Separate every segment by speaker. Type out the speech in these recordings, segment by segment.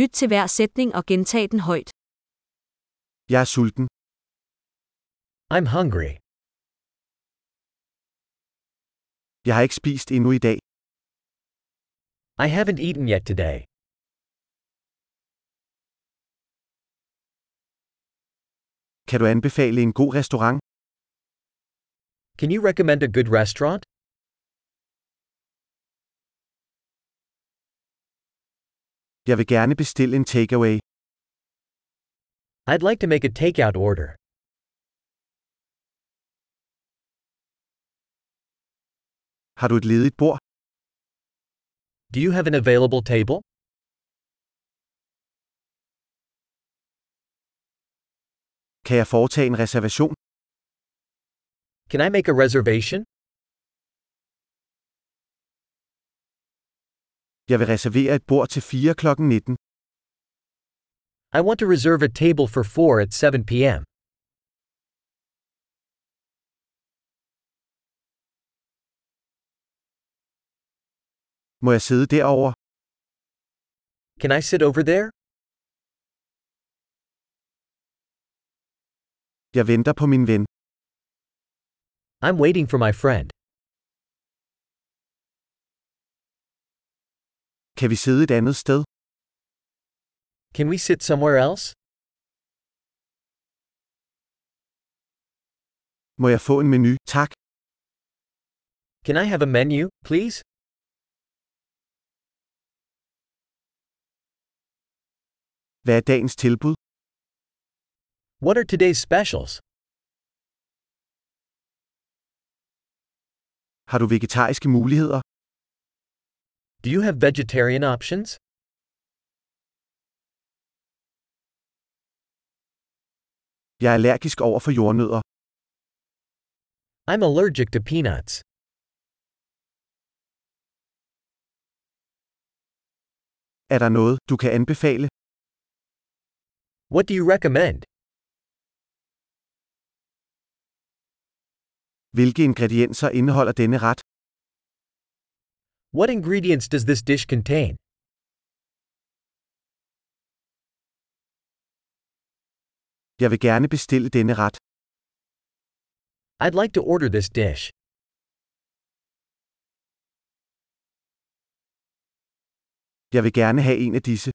Speaker 1: Lyt til hver sætning og gentag den højt.
Speaker 2: Jeg er sulten.
Speaker 3: I'm hungry.
Speaker 2: Jeg har ikke spist endnu i dag.
Speaker 3: I haven't eaten yet today.
Speaker 2: Kan du anbefale en god restaurant?
Speaker 3: Can you recommend a good restaurant?
Speaker 2: Jeg vil gerne bestille en takeaway.
Speaker 3: I'd like to make a takeout order.
Speaker 2: Har du et ledigt bord?
Speaker 3: Do you have an available table?
Speaker 2: Kan jeg foretage en reservation?
Speaker 3: Can I make a reservation?
Speaker 2: Jeg vil reservere et bord til 4 kl. 19.
Speaker 3: I want to reserve a table for 4 at 7 p.m.
Speaker 2: Må jeg sidde derover?
Speaker 3: Can I sit over there?
Speaker 2: Jeg venter på min ven.
Speaker 3: I'm waiting for my friend.
Speaker 2: Kan vi sidde et andet sted?
Speaker 3: Can we sit somewhere else?
Speaker 2: Må jeg få en menu? Tak.
Speaker 3: Can I have a menu, please?
Speaker 2: Hvad er dagens tilbud?
Speaker 3: What are today's specials?
Speaker 2: Har du vegetariske muligheder?
Speaker 3: Do you have vegetarian options?
Speaker 2: Jeg er allergisk over for jordnødder.
Speaker 3: I'm allergic to peanuts.
Speaker 2: Er der noget, du kan anbefale?
Speaker 3: What do you recommend?
Speaker 2: Hvilke ingredienser indeholder denne ret?
Speaker 3: What ingredients does this dish contain?
Speaker 2: Jeg vil gerne bestille denne ret.
Speaker 3: I'd like to order this dish.
Speaker 2: Jeg vil gerne have en af disse.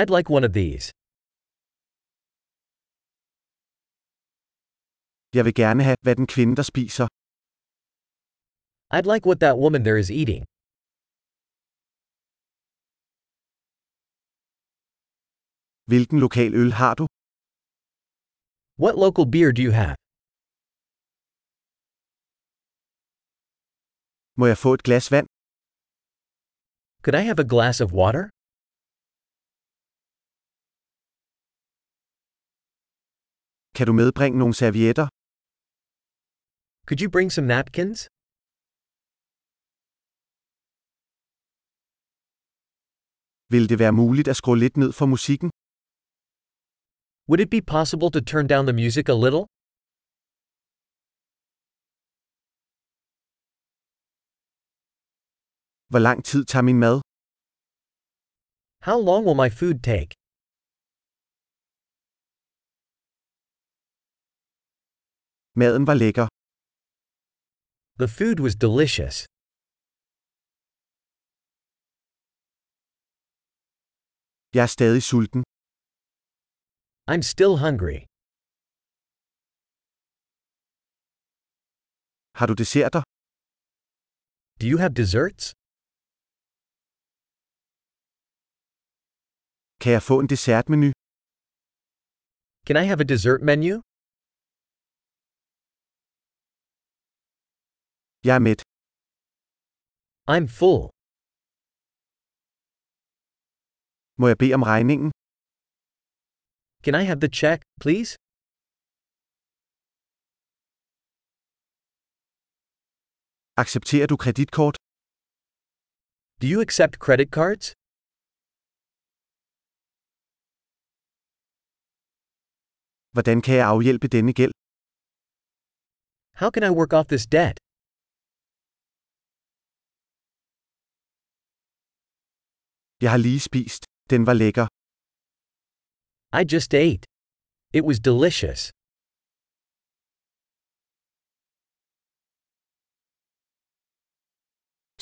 Speaker 3: I'd like one of these.
Speaker 2: Jeg vil gerne have, hvad den kvinde, der spiser.
Speaker 3: I'd like what that woman there is eating.
Speaker 2: Hvilken lokal øl har du?
Speaker 3: What local beer do you have?
Speaker 2: Må jeg få et glas vand?
Speaker 3: Could I have a glass of water?
Speaker 2: Kan du medbringe nogle servietter?
Speaker 3: Could you bring some napkins?
Speaker 2: Vil det være muligt at skrue lidt ned for musikken?
Speaker 3: Would it be possible to turn down the music a little?
Speaker 2: Hvor lang tid tager min mad?
Speaker 3: How long will my food take?
Speaker 2: Maden var lækker.
Speaker 3: The food was delicious.
Speaker 2: Jeg er stadig sulten.
Speaker 3: I'm still hungry.
Speaker 2: Har du desserter?
Speaker 3: Do you have desserts?
Speaker 2: Kan jeg få en dessertmenu?
Speaker 3: Can I have a dessert menu?
Speaker 2: Jeg er mæt.
Speaker 3: I'm full.
Speaker 2: Må jeg bede om regningen?
Speaker 3: Can I have the check, please?
Speaker 2: Accepterer du kreditkort?
Speaker 3: Do you accept credit cards?
Speaker 2: Hvordan kan jeg afhjælpe denne gæld?
Speaker 3: How can I work off this debt?
Speaker 2: Jeg har lige spist. Den var lækker.
Speaker 3: I just ate. It was delicious.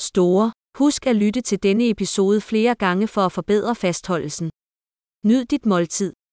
Speaker 1: Store. Husk at lytte til denne episode flere gange for at forbedre fastholdelsen. Nyd dit måltid.